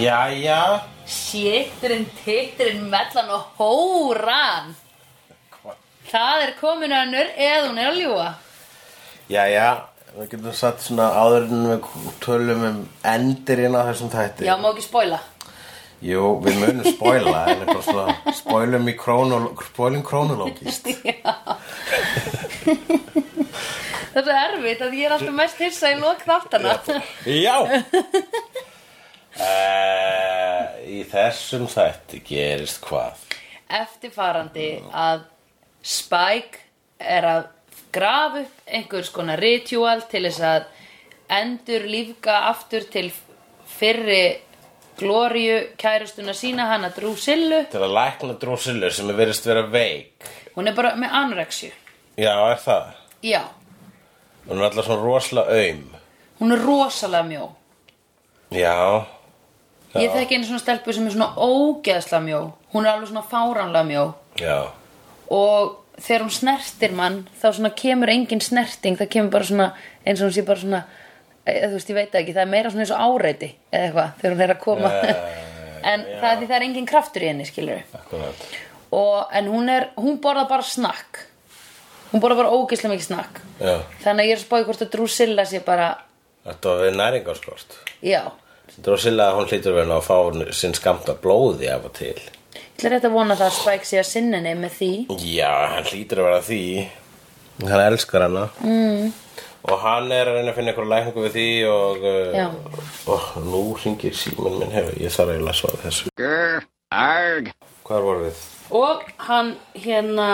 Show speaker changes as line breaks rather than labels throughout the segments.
Jæja,
Sitturinn, titturinn, mellan og hóran.
Hva-
Það er komin önnur eða hún er að ljúa.
jæja, við getum satt svona áður en við tölum um endirinn á þessum þætti.
Já, má ekki spoila.
Jú, við munum spoila, en eitthvað svona spoilum í krónol, spoilum krónológist.
Þetta er erfitt að ég er alltaf mest hissa í lok þáttana.
Já! Uh, í þessum þætti gerist hvað?
Eftirfarandi að Spike er að grafa upp einhvers konar ritual til þess að endur lífga aftur til fyrri glóriu kærustuna sína hana Drusillu.
Til að lækna drósilur sem er verist vera veik.
Hún er bara með anorexju.
Já, er það?
Já,
Hún er alltaf svona rosalega aum.
hún er rosalega mjó.
Já,
Ég þekki einu svona stelpu sem er svona ógeðsla mjó. Hún er alveg svona fáránlega mjó.
já.
Og þegar hún snertir mann, þá svona kemur engin snerting. Það kemur bara svona, eins og hún sé bara svona, eða, þú veist, ég veit það ekki, það er meira svona eins og áreiti eða eitthvað, þegar hún er að koma. en það er því það er engin kraftur í henni, skilur
Eh, Akkurat.
Og, en hún er, hún borða bara snakk. Hún borða bara ógeðsla mikið snakk.
Já,
Þannig að ég er að spáði hvort að Drusilla sé bara,
þetta var við næringarskort.
já,
Drosilla, hún hlýtur verið að fá sinn skamta blóði af og til.
Ég ætla rétt að vona það að Spike sé að sinna henni með því.
Já, hann hlýtur að vera því. Hann elskar hana. Mm. Og hann er að reyna að finna einhverja lækningu við því og...
Já.
Og nú hringir síminn minn hefur, ég þarf eiginlega að svara þessu.
Grr, arg.
Hvar voru við?
Og hann hérna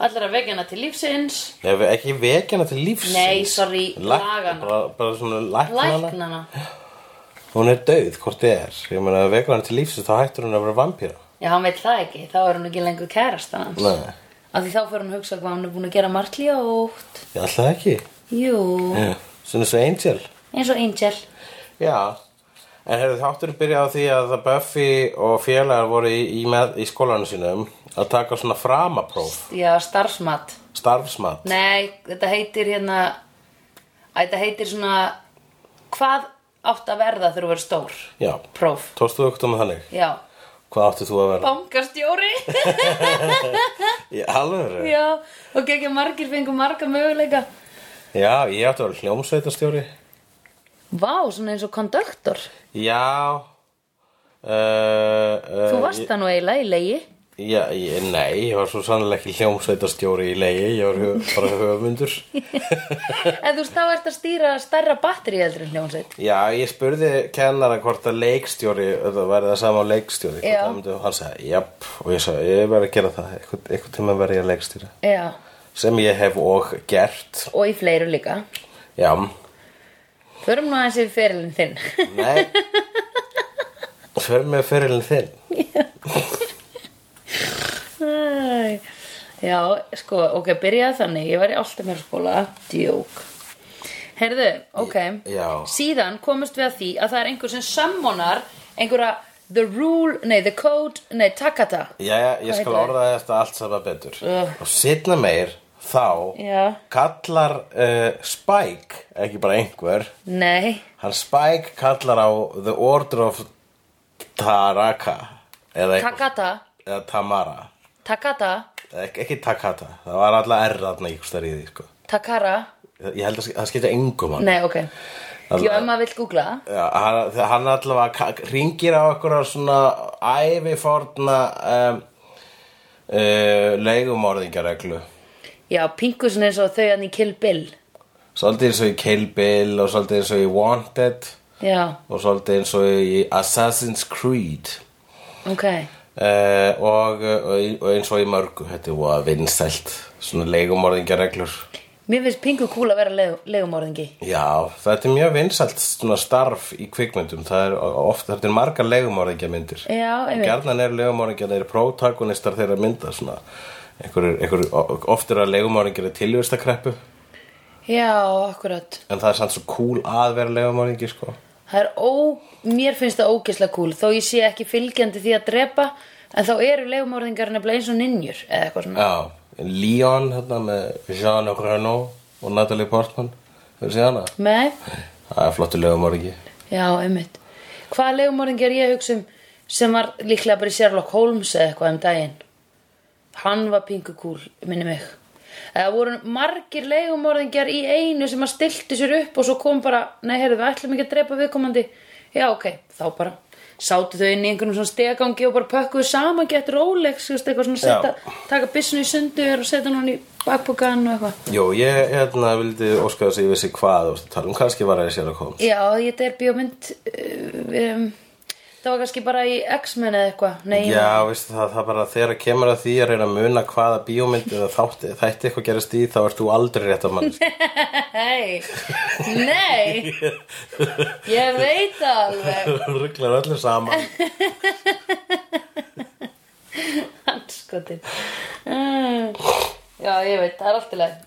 allar að vekja hana til lífsins.
Nei, við- ekki vekja hana til lífsins.
Nei, sorry,
Læk-
laga hana.
Bara, bara svona lækna hana.
Lækna hana.
Hún er döið, hvort þið er. Ég meina, ef við vekja hana til lífsins, þá hættur hún að vera vampíra.
Já, hann veit það ekki. Þá er hún ekki lengur kærasta hans.
Nei,
Af því þá fyrir hún að hugsa hvað hún er búin að gera margt ljótt.
ég ætla það ekki.
Jú,
Já. Svona svo Angel.
eins og Angel.
Já, en hefur þátturinn byrjað á því að það Buffy og félagar voru í, í, með, í skólanum sínum að taka svona framapróf,
Já, starfsmat.
starfsmat.
Nei, þetta heitir hérna, að þetta heitir svona, hvað átt að verða þegar þú verður stór?
Já,
Próf.
tókstu þú ekkert um þannig?
Já.
Hvað áttu þú að vera?
Bankastjóri.
Í alveg? Já.
Já, og ekki margir fengur marga möguleika
ég átti að vera hljómsveitarstjóri.
Vá, svona eins og konduktor
Já, uh, uh,
Þú varst það nú eiginlega í leiði
já, ég, nei, ég var svo sannlega ekki hljómsveitarstjóri í leiði, ég var höf, bara höfundur.
En þú veist, þá ert að stýra stærra batteri heldur en hljónsveit
Já, ég spurði kennara hvort að leikstjóri, það væri það sama á leikstjóri, hvort
Já.
það myndi, hann sagði, japp, og ég sagði, ég verði að gera það, eitthvað, eitthvað tíma verði ég að leikstjóri,
Já,
sem ég hef og gert,
og í fleiru líka
já,
Förum nú aðeins yfir fyrirlin þinn
nei, fyrir með fyrirlin þinn,
Æ. Já, sko, ok, byrjaði þannig Ég var í alltaf mér skóla Djók Heyrðu, ok
Já.
Síðan komumst við að því að það er einhver sem sammonar einhverja the rule, nei, the code, nei, takata
já, ég
Hvað
skal
heitir
orða þetta allt saman betur,
Ugh.
og setna meir, þá,
Já.
kallar uh, Spike, ekki bara einhver,
Nei,
hann Spike kallar á The Order of Taraka, eða eitthvað.
takata
eða Tamara
Takata,
Ek, ekki Takata, það var alltaf R þarna í stærri í því sko.
Takara
ég held að sk- það skipta engum hann
Nei, ok Jú, ef maður vill googla það.
Já, hann, þe- hann allavega ka- ringir á okkur svona æviforna um, uh, leigumorðingareglu
Já, pingu svona eins og þau hann í Kill Bill
svolítið eins og í Kill Bill og svolítið eins og í Wanted
Já,
og svolítið eins og í Assassin's Creed
ok
uh, og, og, í- og eins og í mörgu þetta er voða vinsælt svona leigumorðingareglur
Mér finnst pingu cool að vera legu, legumorðingi
Já, þetta er mjög vinsælt svona starf í kvikmyndum það er ofta, þetta er margar legumorðingja myndir
Já, einmitt.
Gjarnan er legumorðingja, það eru protagonistar þeirra mynda svona einhverjur, einhverjur, oft eru að legumorðingja er tilvistakreppu en
Já, akkurat
það er samt svo cool að vera legumorðingi sko
Það er ó, mér finnst það ógislega cool Þó ég sé ekki fylgjandi því að drepa En þá eru legumorðingar nefnilega eins og ninjur Eða eitthvað svona
Já, Leon hérna með Jean Reno og Natalie Portman Hefur séð hana?
Nei,
Það er flottu legumorðingi
já, einmitt Hvaða legumorðingja er ég að hugsa um sem var líklega bara í Sherlock Holmes eða eitthvað um daginn? Hann var pingu kúl, minni mig. Það voru margir legumorðingjar í einu sem að stilti sér upp og svo kom bara, nei, heyrðu, við ætlum ekki að drepa viðkomandi. Já, ok, þá bara. Sátu þau inn í einhvernum svona stegangi og bara pökkuðu saman, gett Rolex, þú veist, eitthvað svona
Já.
setta, taka byssinu í sundur og setja hann í bakpokan og eitthvað.
Jó, ég hérna vildi óska þess að ég vissi hvað þú veist að tala um, kannski var það sér að koma.
Já, þetta er bíómynd, uh, um, það var kannski bara í X-Men eða eitthvað. Nei,
Já, veistu það, það bara þegar að kemur að því að reyna að muna hvaða bíómynd eða þátti, þætti eitthvað gerast í þá ert þú aldrei rétt sko. að mann.
Nei, nei, ég veit það alveg,
Rugglar öllu saman.
hanskotin. Mm. Já, ég veit, það er allt í lagi.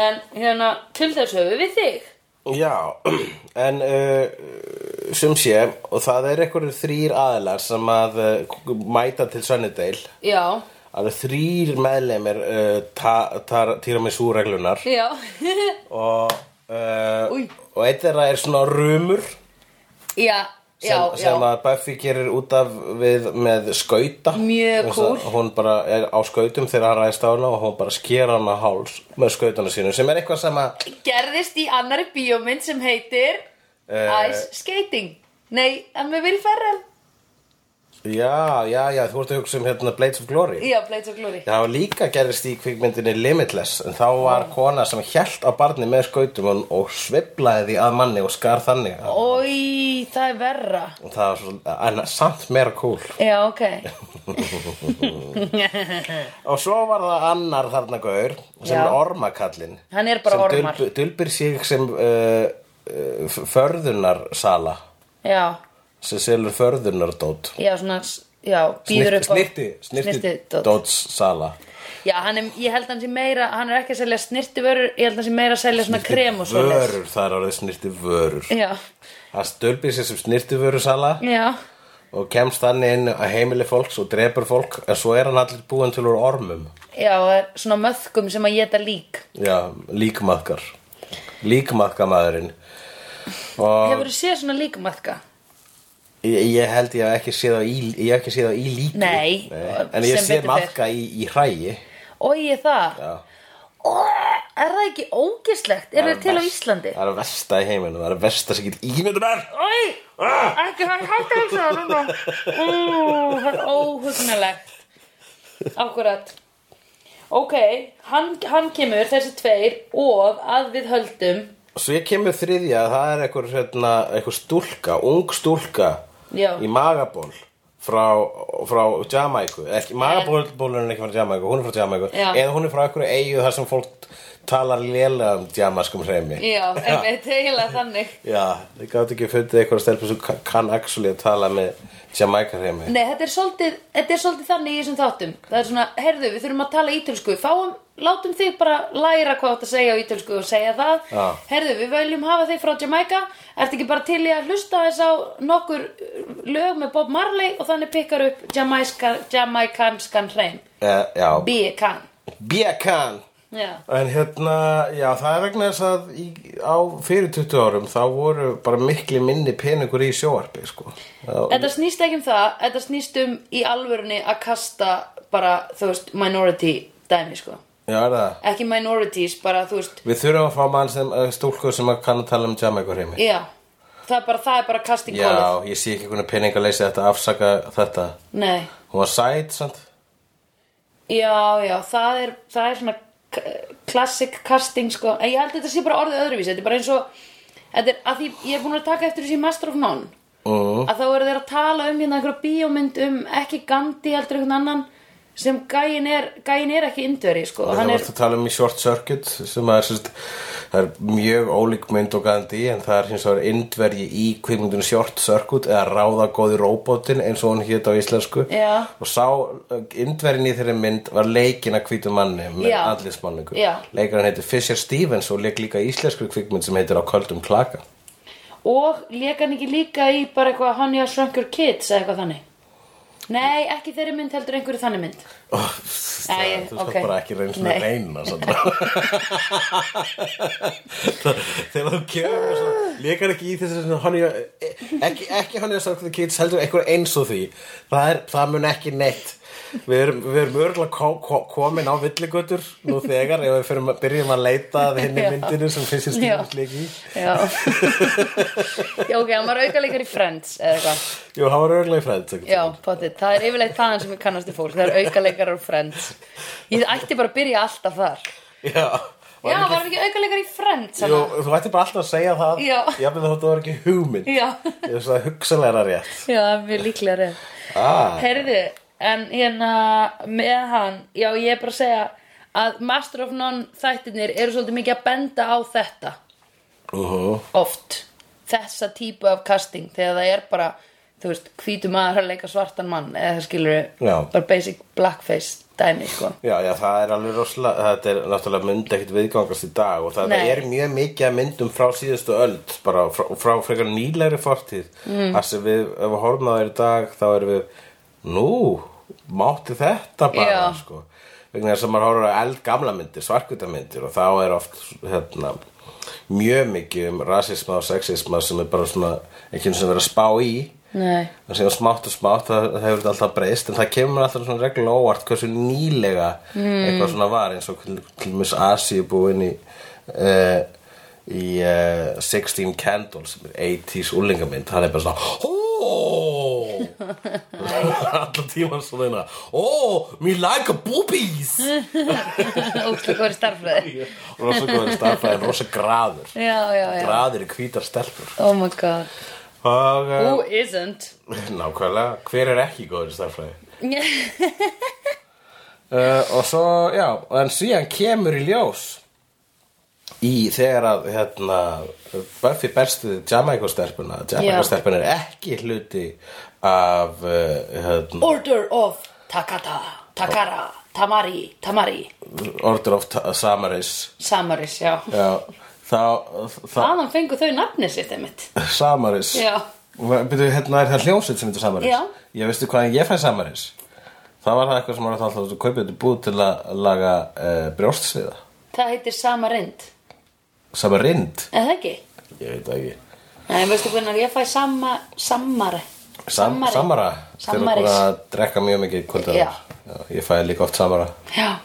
En hérna, til þess höfum við þig.
Já, en uh, sum sé, og það er einhverjir þrýr aðilar sem að uh, mæta til Sunnydale,
Já,
alveg þrýr meðlemir uh, ta, ta, tiramisu reglunar
já,
og, uh,
Új.
og eitt þeirra er svona rumur
já, já,
sem,
já,
sem að Buffy gerir út af við með skauta
Mjög
Þess að
kúl.
Hún bara er á skautum þegar hann ræðist á hana og hún bara sker hana á háls með skautana sínum sem er eitthvað sem að
Gerðist í annari bíómynd sem heitir
Eh.
Ice Skating. Nei, en með Will Ferrell.
Já, já, já, þú ert að hugsa um hérna Blades of Glory
Já, Blades of Glory.
Það var líka gerðist í kvikmyndinni Limitless en þá var kona sem hjælt á barni með skautum og- og sveiflaði því að manni og skar þannig og
Ói, það er verra.
það var svo, en samt meira cool
Já, ok.
og svo var það annar þarna gaur sem
Já.
er ormakallinn
Hann er bara
sem
ormar.
dulb, dulbir sig sem uh, uh, f- förðunarsala
Já.
sem selur förðunardót
Já, svona, já, býður upp á
snirti, snirti,
Snyrtidót.
dótssala
Já, hann er, ég held hann sé meira, hann er ekki að selja snirtivörur Ég held hann sé meira að selja svona krem og svo
vörur, það er orðið snirti vörur
Já,
það dulbir sig sem snirti vörusala
já,
og kemst þannig inn að heimili fólks og drepur fólk en svo er hann allir búin til úr ormum
já, það er svona möðkum sem að geta lík
já, líkmaðkar líkmaðkamaðurinn og
Hefurðu séð svona líkmatka?
ég, ég held ég hef ekki séð á í, ég hef ekki séð á í líki
Nei,
en ég
sem
sé
betur fer.
maðka í, í hræi
Ói, það
Já.
Ó, Er það ekki ógislegt? Er það til á Íslandi?
það er að versta í heiminu, það er að versta sem getur ímyndunar
Ói, ekki hann hægt að þessu núna Ú, það er óhugnalegt Akkurat Ok, hann, hann kemur þessi tveir og að við höldum
svo ég kemur þriðja, það er einhver, hérna, einhver stúlka, ung stúlka
Já.
í magaból frá, frá Jamaiku ekki, magaból er ekki frá Jamaiku, hún er frá Jamaiku
Já.
eða hún er frá einhverju eigu þar sem fólk talar lélega um jamaskum hreimi
Já, einmitt, eiginlega þannig
Já, þið gátt ekki fundið einhverja stelpur sem ka- kann actually að tala með Jamaica hreimi
Nei, þetta er svolítið, þetta er svolítið þannig í þessum þáttum Það er svona, heyrðu, við þurfum að tala ítölsku Fáum, látum þig bara læra hvað þetta segja á ítölsku og segja það
Já.
Heyrðu, við veljum hafa þig frá Jamaica Ertu ekki bara til í að hlusta þess á nokkur uh, lög með Bob Marley og þannig pikkar upp jamaiska, jamaikanskan hreim
Eh, Já,
B.E.K.A.N.
Biakan
Já,
En hérna, já, það er vegna þess að í, á fyrir 20 árum þá voru bara miklu minni peningur í sjóarpi, sko. Já,
þetta snýst ekki um það Þetta snýst um í alvörunni að kasta bara, þú veist, minority dæmi, sko
já, er það.
Ekki minorities, bara, þú veist,
Við þurfum að fá mann sem eh, stúlku sem að kann að tala um Jamaica hreimi.
Já, það er bara, það er bara casting callið.
Já, ég sé ekki hvernig peningaleysi þetta afsaka þetta.
Nei,
Hún var sæt, sant?
já, já, það er, það er svona k- classic casting, sko. En ég held að þetta sé bara orðið öðruvísi, þetta er bara eins og, þetta er, að því, ég er búin að taka eftir þessi í Master of None,
Mm.
að þá eru þeir að tala um hérna einhverja bíómynd um, ekki Gandhi, heldur einhvern annan, sem gæin er, gæin er ekki indveri, sko.
Það
Hann
er...
er,
varst að tala um í Short Circuit sem að er, sérst, það er mjög ólík mynd og gandi en það er hins vegar indverji í kvikmyndinu Short Circuit eða ráðagóði róbótin eins og hún hét á íslensku
Já.
og sá uh, indverjin í þeirri mynd var leikin að hvítu manni með
Já.
allismanningu
Já.
leikarinn heitir Fisher Stevens og leik líka í íslensku kvikmynd sem heitir á köldum klaka
og lék hann ekki líka í bara eitthvað Honey, I Shrunk Your Kids, eða eitthvað þannig. Nei, ekki þeirri mynd heldur einhverju þannig mynd
Ó, það,
Æ,
þú skal
ok.
bara ekki reyns með
Nei.
reyna Sandra. Það- þegar þú kemur með svona, leikar ekki í þessu svona honey, e, ekki, ekki hann er sarkið kids heldur einhver eins og því það, er, það mun ekki neitt við erum, við erum örgulega ko ko komin á villigötur nú þegar ef við fyrir, byrjum að leita að henni
Já.
myndinu sem finnst
Já.
stíðusleiki
Já Já, ok, hann var aukalegari í Friends eða eitthvað
Jú, hann var örgulega í fræð
Já, potið, það er yfirleitt þaðan sem ég kannast í fólk Það er aukaleikar og Friends Ég ætti bara að byrja alltaf þar
Já,
Já, var hann ekki aukaleikar í Friends
Jú,
hana?
þú ætti bara alltaf að segja það
Já.
Jafnir þótt það var ekki hugmynd
Já,
Ég veist að hugsalega er rétt
já, það er mjög líklega reyð
ah,
Heyrðu, en hérna með hann, já ég er bara að segja að Master of None þættirnir eru svolítið mikið að benda á þetta
uh
oft, þessa típu af casting þegar það er bara, þú veist hvítu maður að leika svartan mann eða það skilur
Já.
bara basic blackface dæmi sko.
Já, já, það er alveg rosalega, þetta er náttúrulega mynd ekkert viðgangast í dag og þetta
Nei.
er mjög mikið að myndum frá síðustu öld, bara frá, frá frekar nýlegri fortíð. Mm. Það sem við, ef við horfum að það í dag, þá erum við, nú, mátti þetta bara,
Já.
sko. Vegna þess að maður horfur á eld gamla myndir, svarkutamyndir og þá er oft, hérna, mjög mikið um rasisma og sexisma sem er bara svona, ekki eins og verið að spá í.
Nei,
Það séu smátt og smátt, það það hefur þetta alltaf breyst en það kemur alltaf svona reglulega óvart hversu nýlega eitthvað svona var eins og til til dæmis Asi er búin í uh, í uh, 16 Candles sem er 80s úlingamynd, það er bara svona "Oh!" allan tíman svona eina oh, me like boobies
óslega góður starfræði
rosa góður starfæðin, rosa graður
Já, já, já,
graður í hvítar stelpur
oh my god
og uh,
Who isn't?
nákvæmlega, hver er ekki góður í starfæði?
Já,
uh, og svo, já, en síðan kemur í ljós í þegar að hérna, Buffy berstu Jamaica-stelpuna Jamaica-stelpuna er ekki hluti af uh, hérna,
Order of Takata, Takara, Tamari, Tamari
Order of Ta- Samaris
Samaris, já
já, þá, þá
Þaðan fengu þau nafnið sitt einmitt
Samaris
Já.
Byrju, hérna er það hljómsveit sem heitir Samaris
Já.
ég veistu hvað ég fæ Samaris það var það eitthvað sem var alltaf að kaupa þetta búið til að laga uh, brjóstsviða
Það heitir Samarind
Samarind,
Er það ekki?
ég veit það ekki
Nei, veistu hvernig ég fæ sama, Samare
Sam,
Samari.
samara Þegar
Samaris.
búin að drekka mjög mikið kvöldar
Já.
Já, Ég fæði líka oft samara
Já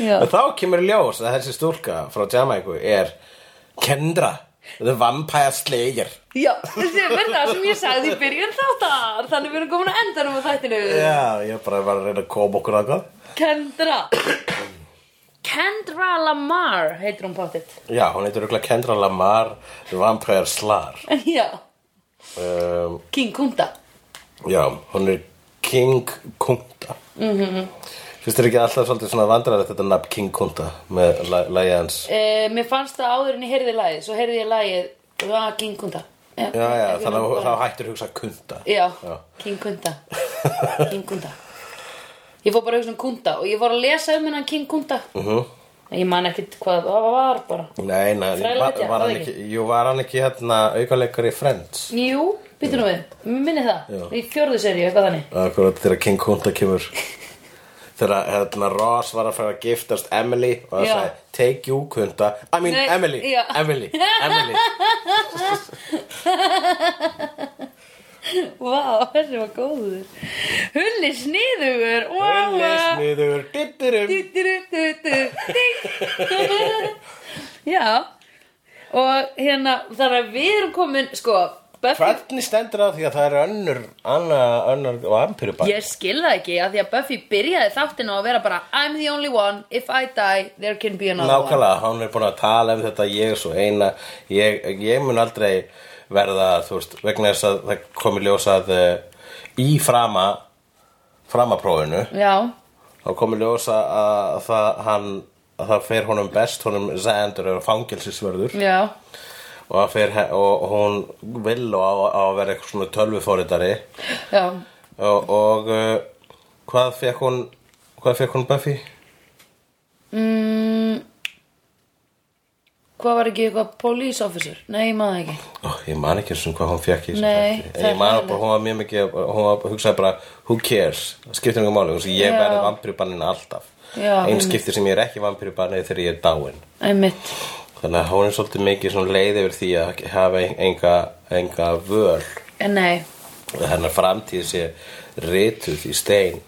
Já
En þá kemur í ljós að þessi stúlka frá Jamaiku er Kendra The Vampire Slayer
Já, þessi verður það sem ég sagði í byrjun þáttar Þannig við erum komin að endanum á þættinu
Já, ég bara var að reyna að koma okkur að það
Kendra Kendra Lamar heitir hún pátitt
Já, hún heitir auðvitað Kendra Lamar The Vampire Slar
Já,
um,
King Kunta
Já, hún er King Kunta mm
Mhm.
-hmm. Fyrst er ekki alltaf svolítið svona vandræðið þetta nafn King Kunta með la- lagið hans
uh, Mér fannst það áður en ég heyrði lagið Svo heyrði ég lagið ah, King Kunta Já,
Já, já, þannig að þá hættir að hugsa Kunta
Já,
Já.
King Kunta King Kunta Ég fór bara að hugsa um Kunta og ég fór að lesa um hennan King Kunta
uh
En Ég man ekkit hvað það var bara
Nei, nei, var,
Þrælahetja,
var
það
hann
ekki?
ekki, jú, var hann ekki hérna aukaleikar í Friends?
Jú, býtum við, mér minni það
Já.
Í fjórðu seríu, eitthvað þannig
Akkurat þegar King Kunta kemur Þegar hérna Ross var að fara að giftast Emily og það
Já.
sagði, take you Kunta I mean
Nei,
Emily,
já.
Emily, Emily
Vá, þessi var góður Hulli sniðugur Vá,
Hulli
vá.
sniður, ditturum
Dú, dú, dú, dú, dú. Já Og hérna, þar að við erum komin Sko, Buffy
Hvernig stendur það því að það er önnur, annar, annar vampirubæk?
Ég skil það ekki að því að Buffy byrjaði þáttin á að vera bara I'm the only one, if I die, there can be another
Nákvæmlega, hann er búin að tala um þetta ég er svo eina, ég, ég mun aldrei verða, þú veist, vegna þess að það komi ljósað eh, í frama framaprófinu,
one Já,
þá komi ljósa að það hann að það fer honum best, honum Zander er fangelsisverður
já,
og, það fer, he- og hún vil og á, á að vera eitthvað svona tölvufóritari
já
og, og uh, hvað fekk hún hvað fekk hún Buffy?
Mm, hvað var ekki eitthvað police officer? Nei, ég maður ekki.
Ó, ég man ekki eins og hvað hún fekk í þessu
Nei,
þætti.
það
En
er
ég man
leiðinlegt.
bara, hún var mjög mikið hún var að hugsaði bara, who cares skiptir mjög máli, þú veist, ég
Já.
verði vampirubanninn alltaf
Já,
einn
einmitt.
skipti sem ég er ekki vampirubannið þegar ég er dáin
Einmitt.
þannig að hún er svolítið mikið svona leið yfir því að hafa en- enga, enga völ
En nei,
og hennar framtíð sé rituð í stein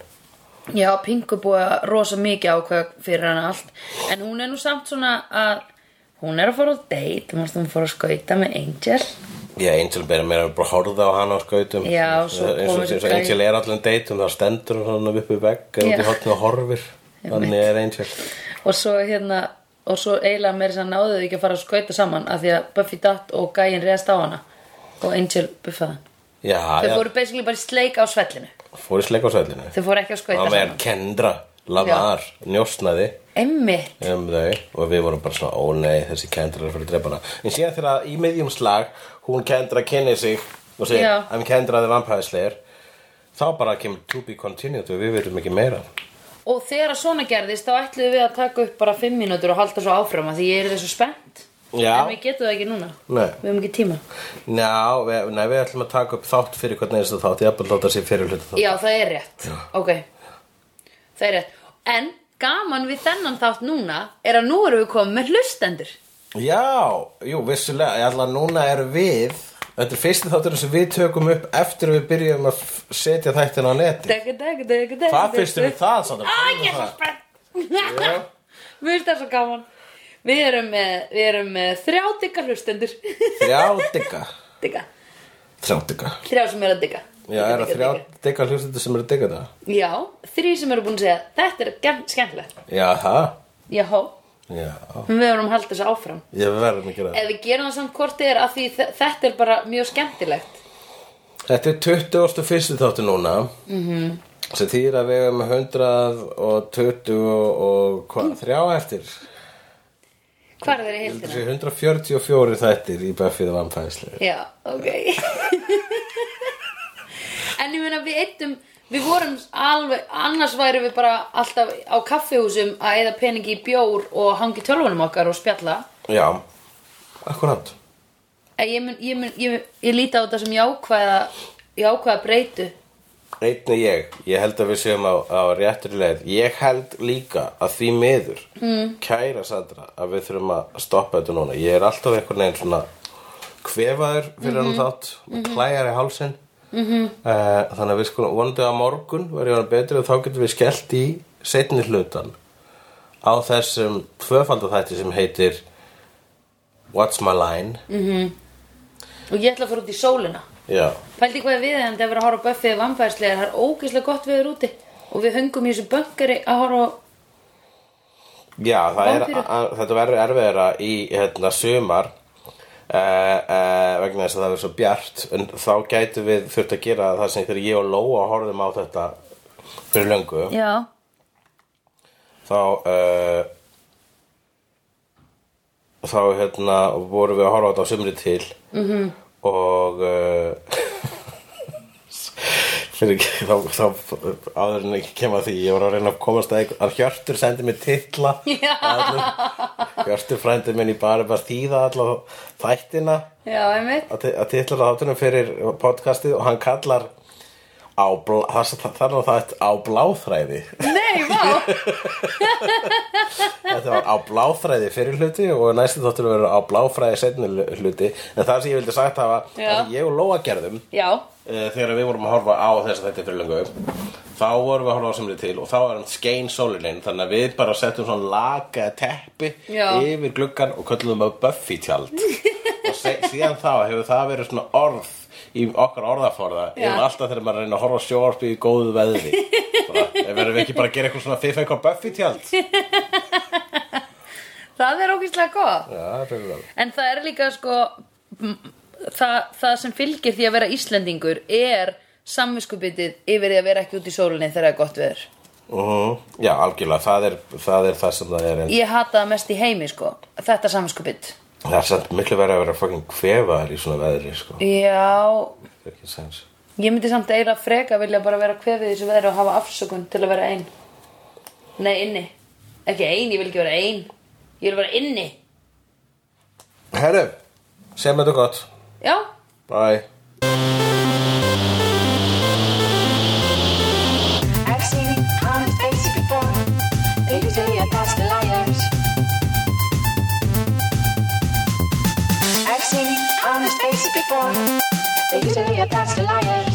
já, Pinku búið að rosa mikið ákveða fyrir hana allt. En hún er nú samt svona að, hún er að fara á date, þú veist, hún fór að skauta með Angel.
Já, Angel bara meira bara horða á hana á skautum
Já, svo
eins og,
komur
eins og
þessi
Angel er allan deitum þá stendur hún svona upp í vegg eða út
Já.
í hotni og horfir þannig er Angel
Og svo hérna, og svo eiginlega meira sem náðu þau ekki að fara að skauta saman af því að Buffy datt og gæinn reðast á hana og Angel buffaði hann.
Já,
Þau
já,
fóru basically bara í sleik á svellinu.
fór í sleikasöldinu
Þau fóru ekki að skauta
Það með
saman.
Kendra, Lavar, njósnaði
Einmitt.
um þau og við vorum bara svona, ó nei, þessi Kendra er fyrir að drepa hana. En síðan þegar í miðjum slag hún Kendra kynni sig og segir,
Já.
I'm Kendra the Vampire Slayer, þá bara kemur to be continued og við veitum ekki meira.
Og þegar að svona gerðist þá ætluðum við að taka upp bara 5 mínútur og halda svo áfram að því ég er þessu spennt
Já.
En við getum það ekki núna
Nei.
Við höfum ekki tíma
Já, við, nei, við ætlum að taka upp þátt fyrir hvernig einstu þátt, ég ætlum að láta sér fyrir hluta þátt.
Já, það er rétt Ok Það er rétt En gaman við þennan þátt núna er að nú erum við komið með hlustendur
Já, jú, vissulega, ég ætla að núna er við, þetta er fyrsti þátturinn sem við tökum upp eftir að við byrjum að f- setja þættina á neti.
Degi, degi, degi, degi
Hvað finnst þér um það, Sandra?
Á, ég er svo spennt
Já.
Mér finnst það svo gaman Við erum með, við erum með þrjá digga hlustendur
Þrjá digga.
Digga
Þrjá digga.
Þrjá sem er að digga
Já,
Digga,
er það
digga,
þrjá
digga.
digga hlustendur sem eru að digga það?
Já, þrý sem eru búin að segja Þetta er gem- skemmtilegt
Já, það?
Jáhá,
Já,
við verðum að halda þessu áfram
ég verðum að gera það.
Ef við gerum það samt hvort eð er að því þe- þetta er bara mjög skemmtilegt
Þetta er 21. þáttur núna. Mhm. Sem þýr að við erum 120 og
Mm.
hvað, þrjá eftir?
Hvað er þeirri
Þetta
heildina?
sé 144 þættir í Buffy the Vampire Slayer.
Já, ok En ég meina við eittum Við vorum alveg, annars værum við bara alltaf á kaffihúsum að eða peningi í bjór og hangi tölvunum okkar og spjalla.
Já, akkurát.
En ég, mun, ég, mun, ég, mun, ég líti á þetta sem jákvæða, jákvæða breytu.
Einnig ég, ég held að við séum á, á réttri leið. Ég held líka að því miður, mm. kæra Sandra, að við þurfum að stoppa þetta núna. Ég er alltaf einhvern veginn svona kvefaður fyrir hann þátt, með klæjar í hálsinn. Mm -hmm. þannig að við sko vonandi að morgun verður hann betri og þá getum við skellt í setni hlutan á þessum tvöfaldathætti sem heitir What's My Line
Og ég ætla að fara út í sólina.
Já,
Pældi hvað við erum að vera að horfa á Buffy eða vampærslega, það er ógeðslega gott við erum úti og við höngum í þessu böngari að horfa á,
Já, það er,
Vampíru.
að, þetta verður erfiðara í hérna, sumar uh, uh, vegna þess að það er svo bjart en þá gætu við þurft að gera það sem þegar ég og Lóa horfðum á þetta fyrir löngu
já,
þá uh, þá hérna vorum við að horfa á þetta á sumri til -hmm. og uh, fyrir ekki þá, þá áður en ekki kem að því ég var að reyna að komast að, að Hjörtur sendi mér titla
Já.
Allur- Hjörtur frændi minn í bara bara þýða allar þættina
já, einmitt,
að ti- að titla þáttunum fyrir podcastið og hann kallar á, blá- það það er nú það á bláþræði
nei, vá,
Þetta var á bláfræði fyrir hluti og næstu þáttur verður á bláfræði setni hluti en það sem ég vildi sagt hafa
Já.
það sem ég og Lóa gerðum
já,
uh, þegar við vorum að horfa á þess að þetta er fyrir lengu þá vorum við að horfa á semri til og þá var hann skein sólinin þannig að við bara settum svona laga teppi
Já.
yfir gluggan og köllum að Buffy tjald og se- síðan þá hefur það verið svona orð í okkar orðaforða
Já.
yfir alltaf þegar maður reynir að horfa á sjóarpi í góðu veðri bara, verðum við ekki bara að gera eitthvað svona fifa eitthvað Buffy tjald Já,
það er ógeðslega gott.
það er vel
En það er líka sko, m- það, það sem fylgir því að vera Íslendingur er samviskubitið yfir því að vera ekki út í sólinni þegar það er gott veður.
-huh. Já, algjörlega, það er, það er það sem það er en
Ég hata það mest í heimi sko, þetta samviskubit.
það er samt miklu verið að vera fucking kvefaðar í svona veðri, sko
Já,
Það er ekki sens
Ég myndi samt eiginlega freka vilja bara vera kvefið í þessu veðri og hafa afsökun til að vera ein. Nei, inni. Ekki ein, ég vil ekki vera ein. Ég vil vera inni.
Herru, sem þetta gott
Já,
Bye
I've seen honest faces before. They usually are past the liars. I've seen honest faces before. They usually are past the liars.